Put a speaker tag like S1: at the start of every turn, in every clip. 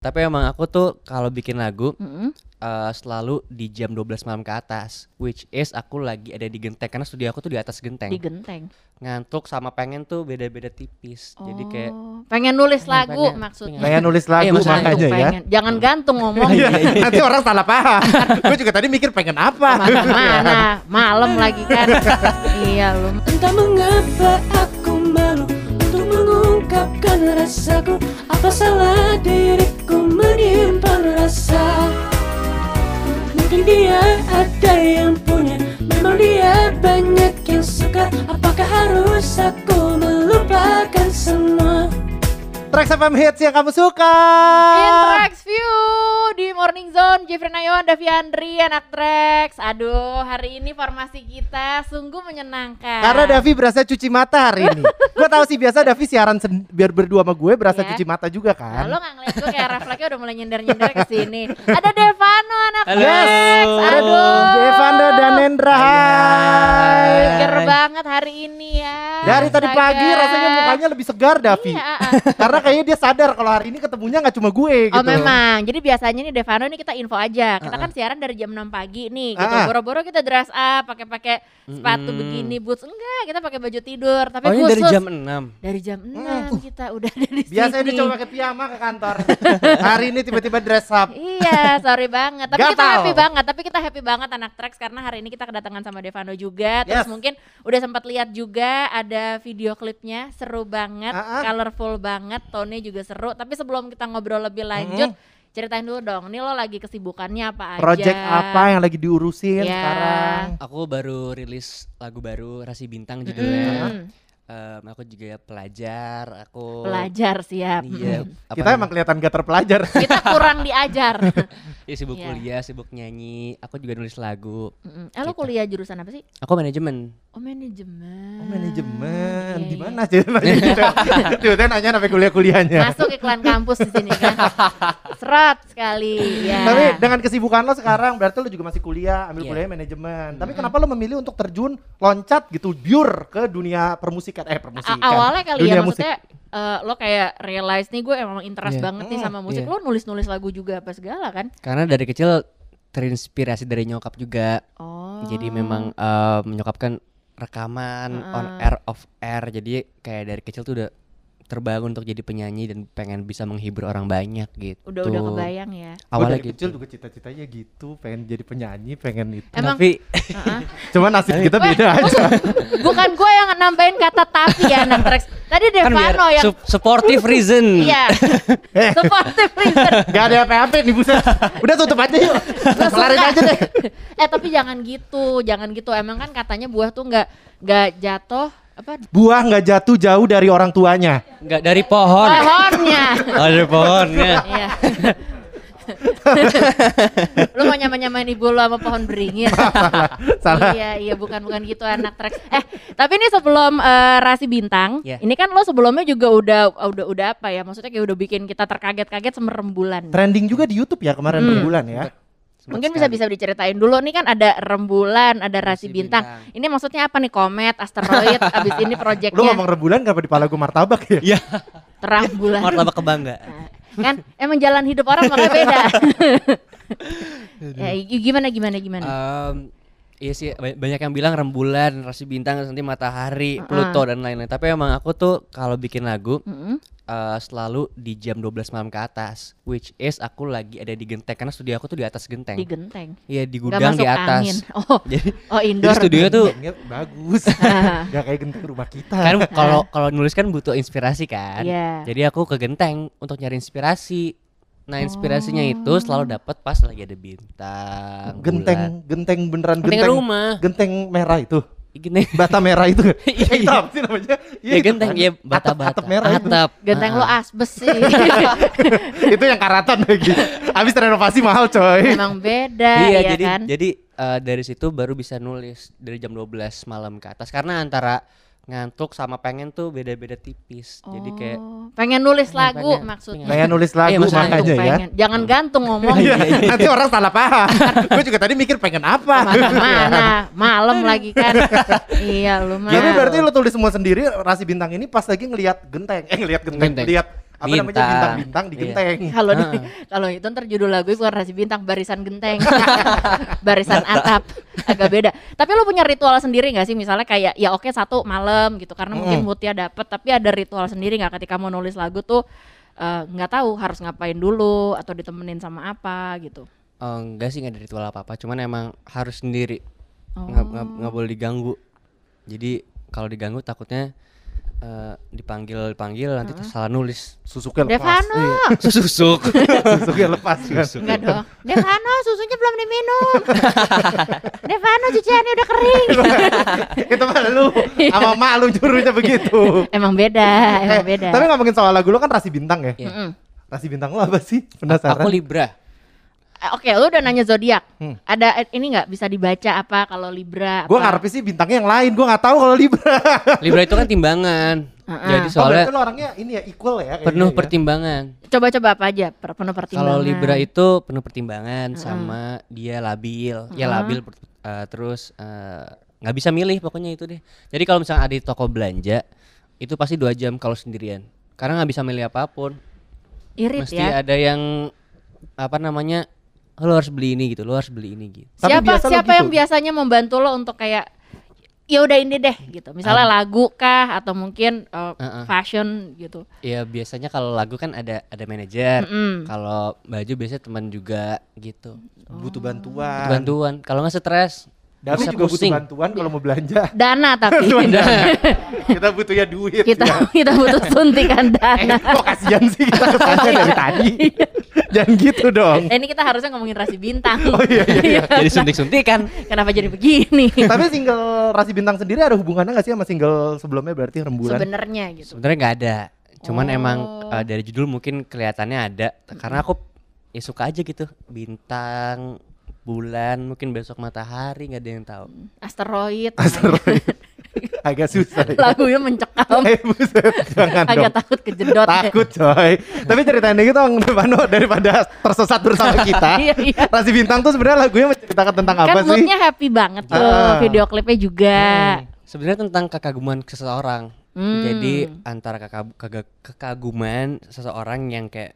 S1: Tapi emang aku tuh kalau bikin lagu
S2: Mm-mm.
S1: eh, selalu di jam 12 malam ke atas, which is aku lagi ada di genteng karena studio aku tuh di atas genteng.
S2: di genteng.
S1: Ngantuk sama pengen tuh beda-beda tipis. Jadi kayak
S2: Oh, pengen nulis
S1: pengen-
S2: lagu
S1: pengen-
S2: Iya, maksudnya.
S1: pengen-
S3: Pengen Iya. nulis lagu
S1: maksudnya
S2: Gantung,
S3: makanya ya.
S2: pengen. Iya, Jangan gantung ngomong.
S3: Iya, Nanti orang salah paham. Gue juga tadi mikir pengen apa.
S2: Mana malam lagi kan. iya lu.
S4: Entah mengapa aku malu untuk mengungkapkan rasaku Apa salah diriku menyimpan rasa Mungkin dia ada yang punya Memang dia banyak yang suka Apakah harus aku melupakan semua
S3: Trax FM Hits yang kamu suka.
S2: Intrax View di Morning Zone, Jeffrey Nayon, Davi Andri, anak Trax. Aduh, hari ini formasi kita sungguh menyenangkan.
S3: Karena Davi berasa cuci mata hari ini. gue tahu sih biasa Davi siaran sen- biar berdua sama gue berasa
S2: Iya.
S3: cuci mata juga
S2: Nah, lo
S3: kan.
S2: nggak ngeliat gue kayak refleksnya udah mulai nyender-nyender ke sini. Ada Devano anak
S1: Halo.
S2: Trax. Aduh. Iya.
S3: Devando dan Nendra. Hai.
S2: Seger banget hari ini ya.
S3: Dari tadi
S2: Astaga.
S3: pagi rasanya mukanya lebih segar Davi.
S2: Iya.
S3: Karena kayaknya dia sadar kalau hari ini ketemunya nggak cuma gue gitu.
S2: Oh memang, jadi biasanya nih Devano nih kita info aja. Kita kan siaran dari jam 6 pagi nih, gitu.
S3: Ah.
S2: Boro-boro kita dress up, pakai-pakai sepatu
S1: Mm-mm.
S2: begini, boots enggak, kita pakai baju tidur. Tapi
S1: Oh ini
S2: khusus
S1: dari jam Uh. 6.
S2: dari jam 6 kita udah ada di
S3: Biasanya
S2: sini.
S3: dia cuma pakai piyama ke kantor. hari ini tiba-tiba dress up.
S2: Iya, sorry banget. Tapi kita
S3: Gatal.
S2: happy banget. Tapi kita happy banget anak Trax karena hari ini kita kedatangan sama Devano juga. Terus
S3: Yes.
S2: mungkin udah sempat lihat juga ada video klipnya seru banget,
S3: Ah, ah.
S2: colorful banget, tone juga seru. Tapi sebelum kita ngobrol lebih lanjut, ceritain dulu dong. Nih lo lagi kesibukannya apa aja?
S3: Project apa yang lagi diurusin
S2: Ya.
S3: sekarang?
S1: Aku baru rilis lagu baru Rasi Bintang
S3: gitu ya?
S1: judulnya.
S2: Hmm,
S1: Em, aku juga pelajar, aku
S2: Pelajar Mm-hmm. siap.
S1: Iya, apa
S3: Kita emang kelihatan gak terpelajar.
S2: Kita kurang diajar.
S1: ya, sibuk
S2: Iya.
S1: kuliah, sibuk nyanyi, aku juga nulis lagu.
S2: Mm-mm. eh lo
S1: Kita.
S3: Gitu.
S2: kuliah jurusan apa sih?
S1: Aku manajemen.
S2: Oh manajemen.
S3: Oh, manajemen
S2: Iya,
S3: di
S2: iya.
S3: mana sih? Tiba-tiba nanya sampai kuliah-kuliahnya.
S1: Ya.
S2: masuk iklan kampus di sini kan serot sekali ya
S3: Tapi dengan kesibukan lo sekarang berarti lo juga masih kuliah, ambil
S1: Iya.
S3: kuliah manajemen.
S2: Hmm.
S3: Tapi kenapa lo memilih untuk terjun loncat gitu pure ke dunia permusikan
S2: A-
S3: eh
S1: kan?
S3: permusikan.
S2: awalnya kali
S3: dunia
S2: ya maksudnya eh, lo kayak realize nih gue emang interest
S1: Iya.
S2: banget nih sama musik
S1: iya.
S2: lo nulis nulis lagu juga apa segala kan
S1: Karena dari kecil terinspirasi dari nyokap juga.
S2: oh
S1: Jadi memang eh, menyokap kan rekaman on air off air. Jadi kayak dari kecil tuh udah terbangun untuk jadi penyanyi dan pengen bisa menghibur orang banyak gitu.
S2: udah udah kebayang ya
S3: Awalnya
S1: Awalnya gitu.
S3: kecil juga cita-citanya gitu, pengen jadi penyanyi, pengen itu.
S2: Emang-
S1: Tapi
S2: Heeh.
S3: Cuman nasib kita beda aja.
S2: bukan gue yang nambahin kata tapi ya anak Trax tadi
S1: kan biar
S2: Devano yang
S1: sup- Eh. supportive reason.
S2: iya supportive reason
S3: Gak ada apa-apa nih buset. Udah tutup aja yuk. Kelarin aja deh.
S2: eh tapi jangan gitu jangan gitu emang kan katanya buah tuh nggak nggak jatuh apa
S3: Buah nggak jatuh jauh dari orang tuanya.
S1: Enggak dari pohon.
S2: eh, pohonnya
S1: Oh, dari pohonnya.
S2: Iya. lu mau nyamain-nyamain ibu lu sama pohon beringin.
S3: Salah.
S2: Iya, iya bukan bukan gitu anak trek. Eh, tapi ini sebelum eh, Rasi Bintang,
S1: Iya.
S2: ini kan lo sebelumnya juga udah udah udah apa ya? Maksudnya kayak udah bikin kita terkaget-kaget semerembulan.
S3: Trending juga di YouTube ya kemarin
S1: Hmm.
S3: per bulan ya.
S1: Sempat
S2: Mungkin bisa
S1: sekali.
S2: bisa diceritain dulu nih kan ada rembulan, ada Rasi
S1: Rasi
S2: Bintang.
S1: Bintang.
S2: Ini maksudnya apa nih? Komet, asteroid, abis ini
S3: Lu ngomong
S2: proyeknya
S3: rebulan kenapa di pala gue martabak ya?
S1: Iya,
S2: terang bulan.
S1: martabak kebanggaan.
S2: kan emang jalan hidup orang makanya beda. ya, i- gimana gimana gimana?
S1: Em, iya sih ba- banyak yang bilang rembulan, rasi bintang, terus nanti matahari, Pluto dan lain-lain. Tapi emang aku tuh kalau bikin lagu
S2: Mm-mm.
S1: eh, selalu di jam 12 malam ke atas, which is aku lagi ada di genteng karena studio aku tuh di atas
S2: di
S1: genteng.
S2: genteng.
S1: Iya di
S2: Nggak
S1: gudang di
S2: masuk
S1: atas.
S2: angin. Oh,
S1: Jadi,
S2: oh
S1: jadi
S2: indoor.
S1: Iya, studio tuh
S3: Gentengnya bagus.
S2: Ah.
S3: Gak kayak genteng rumah kita.
S1: kan kalau kalau nulis kan butuh inspirasi kan.
S2: Iya.
S1: Jadi aku ke genteng untuk nyari inspirasi. Nah inspirasinya
S2: Oh.
S1: itu selalu dapat pas lagi ada bintang,
S3: genteng
S1: bulan.
S3: genteng beneran
S1: genteng,
S3: genteng
S1: rumah, Iya,
S3: genteng merah itu
S1: gini.
S3: bata merah itu
S1: Iya,
S3: Eh, itu apa sih namanya Iya,
S1: Ya,
S3: itu
S1: genteng,
S3: kan.
S1: ya
S3: Atap-
S1: bata-bata.
S3: atap merah itu.
S1: Atap.
S2: Genteng lo
S1: Ah,
S2: asbes sih.
S3: itu yang karatan lagi abis renovasi mahal coy
S2: Emang beda
S1: Iya,
S2: ya
S1: jadi
S2: kan?
S1: jadi eh, dari situ baru bisa nulis dari jam 12 malam ke atas karena antara ngantuk sama pengen tuh beda-beda tipis. Jadi kayak
S2: Oh, pengen nulis
S1: Pengen-
S2: lagu
S1: pengen-
S2: maksudnya.
S3: pengen nulis lagu
S1: Iya, maksudnya Oh,
S2: Gantung,
S3: makanya ya
S2: pengen. Jangan gantung ngomong.
S3: Iya, iya. nanti orang salah paham gue juga tadi mikir pengen apa Iya.
S2: Mana malam lagi kan. iya lu
S1: Nah.
S2: mah.
S3: jadi berarti lo tulis semua sendiri rasi bintang ini pas lagi ngelihat genteng eh ngelihat genteng,
S1: Genteng.
S3: ngelihat apa namanya
S1: Bintang.
S3: bintang-bintang di
S1: Iya.
S3: genteng.
S2: Kalau di-
S1: Heeh.
S2: kalau itu ntar judul lagu bukan rasi bintang, barisan genteng, barisan atap, agak beda. Tapi lu punya ritual sendiri nggak sih? Misalnya kayak ya oke satu malam gitu, karena mungkin
S3: Mm.
S2: moodnya dapet. Tapi ada ritual sendiri nggak ketika mau nulis lagu tuh eh, nggak tahu harus ngapain dulu atau ditemenin sama apa gitu.
S1: Oh, enggak sih nggak ada ritual apa apa cuman emang harus sendiri
S2: Oh.
S1: nggak nggak- nggak boleh diganggu jadi kalau diganggu takutnya eh, dipanggil dipanggil nanti salah nulis
S3: Susuknya lepas.
S2: Devano,
S1: susuk
S3: Susuknya lepas. kan?
S2: enggak dong. Devano susunya belum diminum. Devano cuciannya udah kering.
S3: Itu mah lu sama mak lu jurunya begitu.
S2: emang beda,
S3: Eh,
S2: Nah, emang beda.
S3: Tapi ngomongin soal lagu lu kan rasi bintang ya?
S1: Iya.
S2: Mm-mm.
S3: Rasi bintang lu apa sih? Penasaran.
S1: aku libra
S2: Eh, Oke, lu udah nanya zodiak.
S3: Hmm.
S2: Ada eh, ini nggak bisa dibaca apa kalau Libra?
S3: Gue
S2: apa?
S3: ngarepin sih bintangnya yang lain, gue gak tahu kalau Libra.
S1: libra itu kan timbangan
S2: Heeh.
S1: jadi
S3: Oh,
S1: soalnya
S3: berarti lu orangnya ini ya equal ya kayaknya
S1: penuh
S3: ya.
S1: pertimbangan
S2: Coba-coba apa aja per- penuh pertimbangan.
S1: Kalau Libra itu penuh pertimbangan sama dia labil, ya labil per- eh, terus eh, nggak bisa milih pokoknya itu deh. Jadi kalau misalnya ada di toko belanja itu pasti dua jam kalau sendirian, karena nggak bisa milih apapun.
S2: irit
S1: Mesti
S2: ya.
S1: ada yang apa namanya, lo harus beli ini gitu, lo harus beli ini gitu.
S3: Tapi
S2: Siapa
S3: biasa lo
S2: siapa
S3: gitu.
S2: yang biasanya membantu lo untuk kayak ya udah ini deh gitu. Misalnya lagu kah atau mungkin eh,
S1: Uh-uh.
S2: fashion gitu.
S1: Ya biasanya kalau lagu kan ada ada manajer,
S2: Mm-mm.
S1: kalau baju biasanya teman juga gitu.
S3: Butuh bantuan.
S1: Bantuan, kalau nggak stres
S3: Dami
S1: bisa
S3: Kan. juga
S1: pusing.
S3: butuh bantuan kalau mau belanja.
S2: Dana tapi
S3: kita butuh ya duit.
S2: kita
S3: ya.
S2: kita butuh suntikan
S3: Eh,
S2: dana.
S3: kok kasihan sih kita kesannya dari tadi. Jangan gitu dong.
S2: Eh, ini kita harusnya ngomongin rasi bintang.
S3: Oh iya iya. iya.
S1: Jadi suntik-suntikan.
S2: Kenapa jadi begini?
S3: Eh, Tapi single Rasi Bintang sendiri ada hubungannya gak sih sama single sebelumnya berarti Rembulan?
S2: Sebenarnya gitu.
S1: Sebenarnya nggak ada. Cuman emang
S2: Oh.
S1: uh, dari judul mungkin kelihatannya ada. Karena aku ya suka aja gitu bintang, bulan, mungkin besok matahari nggak ada yang tahu.
S2: Asteroid.
S3: Agak susah. ya.
S2: lagunya mencekam
S3: Eh buset, jangan
S2: agak
S3: dong.
S2: takut kejedot ya.
S3: Takut coy. Tapi ceritain dikit dong Devano daripada tersesat bersama kita.
S2: Iya, iya.
S3: Rasi Bintang tuh sebenarnya lagunya menceritakan tentang
S2: kan
S3: ah. apa sih?
S2: moodnya happy banget tuh
S3: Ah.
S2: video klipnya juga
S1: Sebenarnya tentang kekaguman seseorang.
S2: Hmm.
S1: Jadi antara keka- kega- kekaguman seseorang yang kayak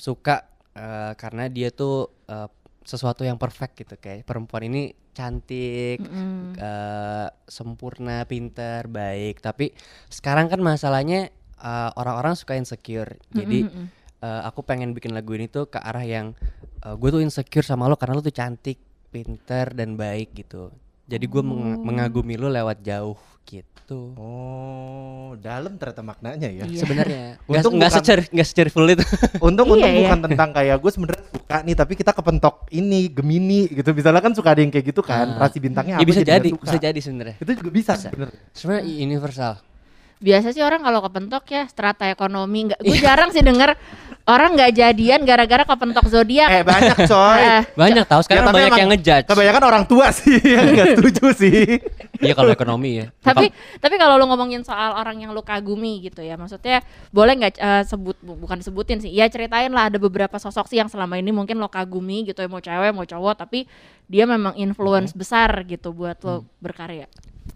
S1: suka uh, karena dia tuh uh, sesuatu yang perfect gitu kayak perempuan ini cantik,
S2: Mm.
S1: eh, sempurna, pinter, baik. Tapi sekarang kan masalahnya eh, orang-orang suka insecure. Jadi
S2: Mm-mm.
S1: eh, aku pengen bikin lagu ini tuh ke arah yang gue tuh insecure sama lo karena lo tuh cantik, pinter, dan baik gitu. Jadi gue mengagumi lo lewat jauh gitu.
S3: Oh, dalam ternyata maknanya ya.
S2: Iya.
S1: Sebenarnya nggak
S3: Untung
S1: nggak
S3: bukan-
S1: secer nggak secerful itu.
S3: Ya, Untung
S2: Iya,
S3: untung
S2: iya.
S3: bukan tentang kayak gue sebenarnya suka nih tapi kita kepentok ini Gemini gitu. Misalnya kan suka ada yang kayak gitu kan.
S1: Ah.
S3: Rasi
S1: ya
S3: bintangnya apa
S1: bisa
S3: jadi nggak
S1: jadi,
S3: suka.
S1: bisa jadi sebenarnya.
S3: Itu juga bisa,
S1: Bisa.
S3: sebenarnya.
S1: Sebenarnya universal.
S2: biasa sih orang kalau kepentok ya strata ekonomi nggak
S3: Iya.
S2: gue jarang sih denger orang nggak jadian gara-gara kepentok
S3: Eh
S2: zodiak
S3: banyak coy.
S2: Eh,
S1: Banyak tahu sekarang
S3: Ya, tapi
S1: banyak
S3: emang
S1: yang ngejudge.
S3: Kebanyakan orang tua sih yang nggak setuju sih.
S1: Iya kalau ekonomi ya.
S2: tapi tapi kalau lu ngomongin soal orang yang lu kagumi gitu ya maksudnya boleh nggak eh, sebut bu- bukan sebutin sih ya ceritain lah ada beberapa sosok sih yang selama ini mungkin lo kagumi gitu ya mau cewek mau cowok tapi dia memang influence
S3: Mm-hmm.
S2: besar gitu buat lo
S3: Mm.
S2: berkarya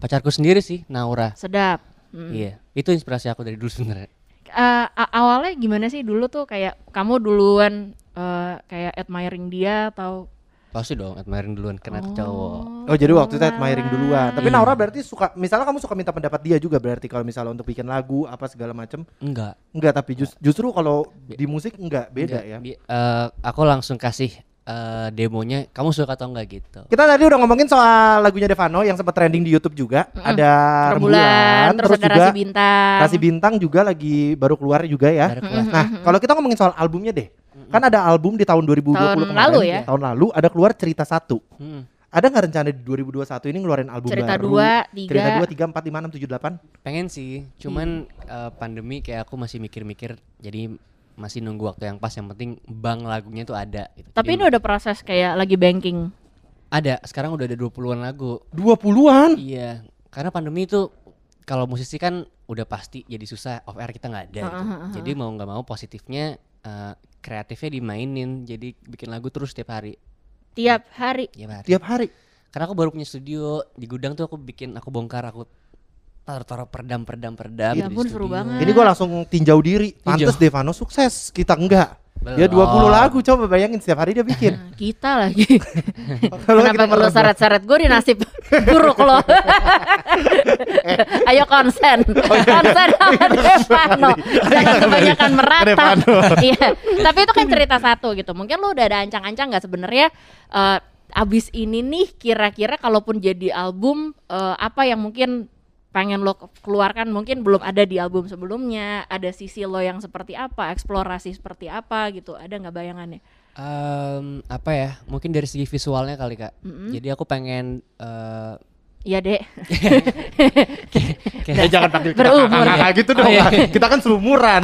S1: Pacarku sendiri sih, Naura.
S2: sedap Mm.
S1: Iya, itu inspirasi aku dari dulu sebenarnya.
S2: Eh, a- awalnya gimana sih dulu tuh kayak kamu duluan eh, kayak admiring dia atau
S1: Pasti dong, admiring duluan karena aku cowok.
S3: Oh jadi waktu itu admiring duluan. Tapi
S1: Iya.
S3: Naura berarti suka, misalnya kamu suka minta pendapat dia juga berarti kalau misalnya untuk bikin lagu apa segala macem.
S1: Enggak.
S3: Enggak tapi jus- justru kalau di musik enggak beda
S1: enggak.
S3: ya.
S1: Bi- eh, aku langsung kasih eh, demonya, kamu suka atau enggak gitu.
S3: Kita tadi udah ngomongin soal lagunya Devano yang sempat trending di YouTube juga. Ada
S2: rembulan terus, ada
S3: juga
S2: rasi bintang
S3: Rasi Bintang juga lagi baru keluar juga ya.
S1: Baru keluar.
S3: Nah, kalau kita ngomongin soal albumnya deh. Kan ada album di tahun 2020
S2: Tahun
S3: kemarin.
S2: lalu ya.
S3: Tahun lalu ada keluar cerita satu.
S1: Mm-mm.
S3: Ada nggak rencana di 2021 ini ngeluarin album
S2: cerita
S3: baru?
S2: dua tiga
S3: Cerita 2, 3, 4, 5, 6, 7, 8
S1: Pengen sih, cuman eh, pandemi kayak aku masih mikir-mikir, jadi masih nunggu waktu yang pas. Yang penting bang lagunya tuh ada. Gitu.
S2: tapi ini
S1: Jadi
S2: udah proses kayak lagi banking
S1: ada. Sekarang udah ada 20-an lagu.
S3: 20-an?
S1: Iya, karena pandemi itu kalau musisi kan udah pasti jadi susah off air kita nggak ada. gitu. Jadi mau nggak mau positifnya eh, kreatifnya dimainin, jadi bikin lagu terus tiap hari.
S2: tiap hari
S1: Tiap hari.
S3: Tiap hari
S1: Karena aku baru punya studio di gudang tuh aku bikin aku bongkar aku taruh-taruh perdam-perdam-perdam
S2: Ya ampun, seru banget.
S3: Ini gua langsung tinjau diri.
S1: Hmm. Tinjau. Oh.
S3: Pantes Devano sukses, kita enggak. Dia
S1: Belum.
S3: 20 Ya, lagu coba bayangin setiap hari dia bikin.
S2: Nah, kita lagi.
S3: Kalau
S2: Kenapa
S3: kita
S2: perlu
S3: meraba-
S2: seret-seret gue di nasib buruk lo? Ayo konsen,
S3: Oh, iya.
S2: konsen sama Devano, jangan kebanyakan merata.
S3: Devano.
S2: Iya, tapi itu kan cerita satu gitu. Mungkin lo udah ada ancang-ancang nggak sebenarnya? eh, abis ini nih kira-kira kalaupun jadi album eh, apa yang mungkin pengen lo ke- keluarkan mungkin belum ada di album sebelumnya ada sisi lo yang seperti apa eksplorasi seperti apa gitu ada nggak bayangannya
S1: Em, apa ya mungkin dari segi visualnya kali kak jadi aku pengen eh,
S2: iya dek
S1: kayak-
S3: Eh, jangan panggil kita
S2: Berumur.
S3: kakak-kakak gitu dong.
S1: Oh, iya.
S3: Kak. Kita kan selumuran.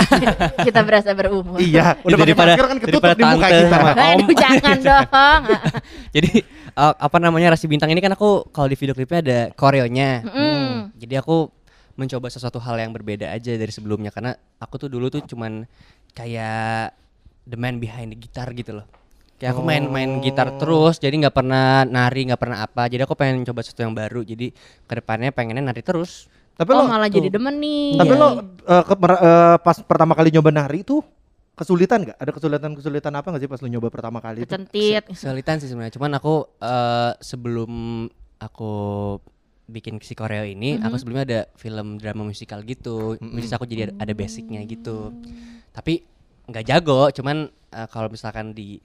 S2: kita berasa berumur
S3: iya, udah pakai
S1: daripada-
S3: masker kan ketutup
S1: daripada
S3: di muka
S1: tante
S3: kita.
S1: sama-
S2: Aduh
S1: Om.
S2: jangan dong.
S1: jadi eh, apa namanya rasi bintang ini kan aku kalau di video klipnya ada koreonya
S2: Mm.
S1: jadi aku mencoba sesuatu hal yang berbeda aja dari sebelumnya karena aku tuh dulu tuh cuman kayak the man behind the guitar gitu loh kayak aku main-main gitar terus jadi nggak pernah nari nggak pernah apa jadi aku pengen coba sesuatu yang baru jadi kedepannya pengennya nari terus
S3: Tapi
S2: Oh
S3: lo
S2: malah
S1: tuh.
S2: jadi demen nih.
S3: tapi
S1: Iya.
S3: lo eh, ke- mer- eh, pas pertama kali nyoba nari itu kesulitan nggak? Ada kesulitan-kesulitan apa nggak sih pas lo nyoba pertama kali itu?
S2: kecentit.
S1: kesulitan sih sebenarnya cuman aku eh, sebelum aku bikin si koreo ini
S2: Mm-hmm.
S1: aku sebelumnya ada film drama musikal gitu which is aku jadi ada, ada basicnya gitu
S2: Mm-hmm.
S1: tapi nggak jago cuman eh, kalau misalkan di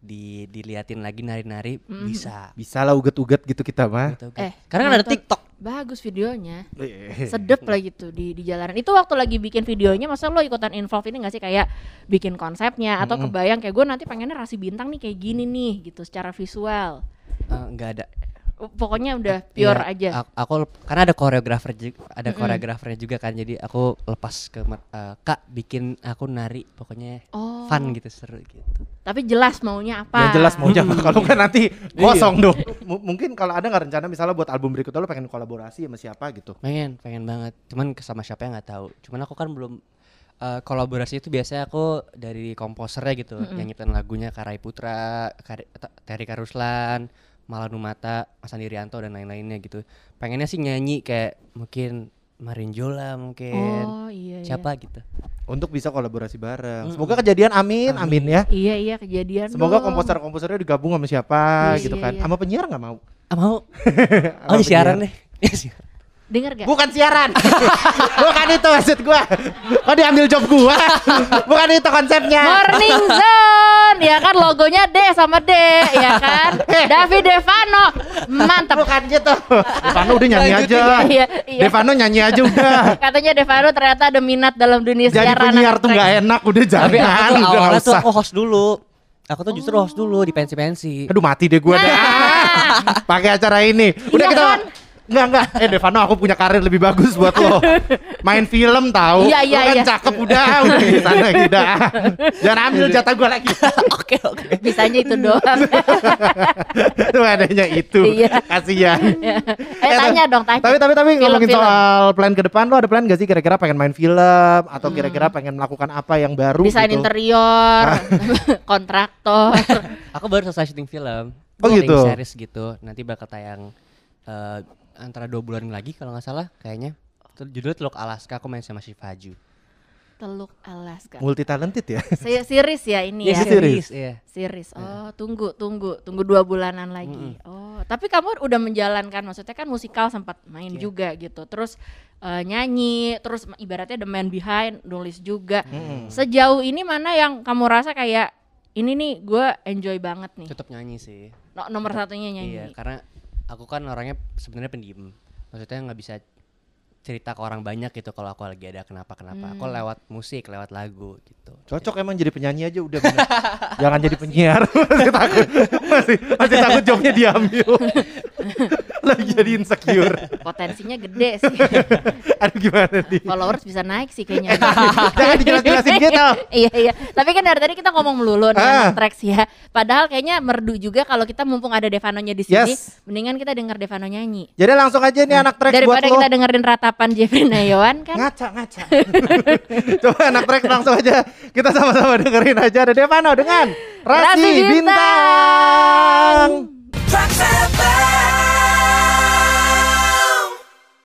S1: di diliatin lagi nari-nari bisa
S3: Bisa lah uget-uget gitu kita mah.
S1: gitu
S2: Mm-hmm. Eh,
S1: karena kan ada
S2: nonton.
S1: TikTok
S2: Bagus videonya.
S1: Iya,
S3: Eh,
S2: Sedep lah gitu di di jalanan. Itu waktu lagi bikin videonya masa lo ikutan involve ini gak sih kayak bikin konsepnya atau kebayang kayak gue nanti pengennya rasi bintang nih kayak gini nih gitu secara visual.
S1: Eh, nggak ada
S2: Pokoknya udah
S3: Eh,
S2: pure
S1: Iya,
S2: aja.
S3: uh,
S1: ak- aku, lep- karena ada koreografer juga ada koreografernya juga kan jadi aku lepas ke mer- eh, kak bikin aku nari pokoknya
S2: Oh.
S1: fun gitu seru gitu
S2: Tapi jelas maunya apa.
S3: Yang jelas mau
S2: Hmm.
S3: jawab kalau nggak nanti
S1: Iya.
S3: kosong dong. M- mungkin kalau ada nggak rencana misalnya buat album berikutnya lo pengen kolaborasi sama siapa gitu?
S1: Pengen, pengen banget. Cuman ke- sama siapa ya nggak tahu. Cuman aku kan belum eh, kolaborasi itu biasanya aku dari komposernya gitu, yang nyiptain lagunya Karai Putra, Kari, Ta- Teri Karuslan, Malanumata, Mas Andi Rianto dan lain-lainnya gitu. Pengennya sih nyanyi kayak mungkin Marinjola mungkin
S2: Oh iya. iya.
S1: siapa gitu.
S3: Untuk bisa kolaborasi bareng. Semoga kejadian, amin, amin, ya.
S2: Iya iya kejadian.
S3: Semoga
S2: dong.
S3: komposer-komposernya digabung sama siapa
S2: Iya,
S3: gitu
S2: iya,
S3: kan.
S2: iya.
S3: Sama penyiar nggak mau?
S1: Ah, mau?
S3: Sama
S1: Oh, di siaran
S3: penyiar.
S1: deh. Iya, siaran.
S2: Dengar gak?
S3: Bukan siaran. Bukan itu maksud gua. Kok diambil job gua? Bukan itu konsepnya.
S2: Morning Zone ya kan logonya D sama D ya kan Davi Devano mantap
S3: Eh. Bukan gitu. Devano udah nyanyi
S1: Lanjutin,
S3: aja.
S2: iya, iya.
S3: Devano nyanyi aja udah.
S2: katanya Devano ternyata ada minat dalam dunia
S3: Jadi
S2: siaran
S3: penyiar tuh nggak ya? enak udah
S1: Tapi aku
S3: jangan
S1: tuh
S3: udah nggak
S1: awalnya tuh
S3: usah.
S1: aku
S2: oh.
S1: host dulu. Aku tuh justru host dulu di pensi-pensi.
S3: Aduh mati deh gua deh. Ah, Pakai acara ini.
S2: Nah.
S3: Udah
S2: Iya
S3: kita
S2: kan?
S3: Enggak enggak. Eh Devano aku punya karir lebih bagus buat lo. Main film tahu.
S2: Iya, iya,
S3: Lu kan
S2: iya.
S3: cakep udah udah di sana udah. Jangan ambil
S2: Iya.
S3: jatah gua lagi.
S1: Oke, oke.
S2: bisanya itu doang
S3: Itu adanya itu.
S2: Iya.
S3: Kasihan.
S2: eh tanya dong tanya
S3: Tapi tapi tapi
S2: Film,
S3: ngomongin
S2: film.
S3: soal plan ke depan lo ada plan gak sih kira-kira pengen main film atau kira-kira pengen melakukan apa yang baru
S2: Hmm. desain
S3: gitu?
S2: interior kontraktor
S1: Aku baru selesai syuting film.
S3: Oh,
S1: Ring
S3: gitu.
S1: Series gitu. Nanti bakal tayang eh, antara dua bulan lagi kalau nggak salah kayaknya. Itu Judulnya Teluk Alaska. Aku main sama si Faju.
S2: Teluk Alaska
S3: Multi talented ya.
S2: Se- series ya ini ya
S3: Iya, series.
S1: Iya.
S2: series oh tunggu tunggu tunggu dua bulanan lagi oh tapi kamu udah menjalankan maksudnya kan musikal sempat main juga gitu terus eh, nyanyi terus ibaratnya the man behind nulis juga sejauh ini mana yang kamu rasa kayak ini nih gue enjoy banget nih
S1: Tetap nyanyi sih.
S2: No- nomor satunya
S1: Iya,
S2: nyanyi
S1: karena aku kan orangnya sebenarnya pendiam. Maksudnya nggak bisa cerita ke orang banyak gitu kalau aku lagi ada kenapa-kenapa. Aku lewat musik, lewat lagu gitu.
S3: Cocok emang jadi penyanyi aja udah bener. Jangan jadi penyiar. masih takut. Masih masih takut jobnya diambil. Lagi jadi insecure.
S2: potensinya gede sih
S3: Aduh gimana nih?
S2: followers bisa naik sih kayaknya
S3: Jangan dijelas-jelasin gitu.
S2: iya iya tapi kan dari tadi kita ngomong melulu nih
S3: Ah.
S2: emang tracks ya padahal kayaknya merdu juga kalau kita mumpung ada Devanonya di sini
S3: Yes.
S2: mendingan kita denger Devano nyanyi
S3: Jadi langsung aja nih anak track buat
S2: daripada
S3: lo. Nah,
S2: kita dengerin ratapan Jeffrey Nayawan kan
S3: Ngaca, ngaca. Coba anak track langsung aja. Kita sama-sama dengerin aja ada Devano dengan Rasi,
S2: Rasi Bintang.
S3: Bintang.
S4: Track FM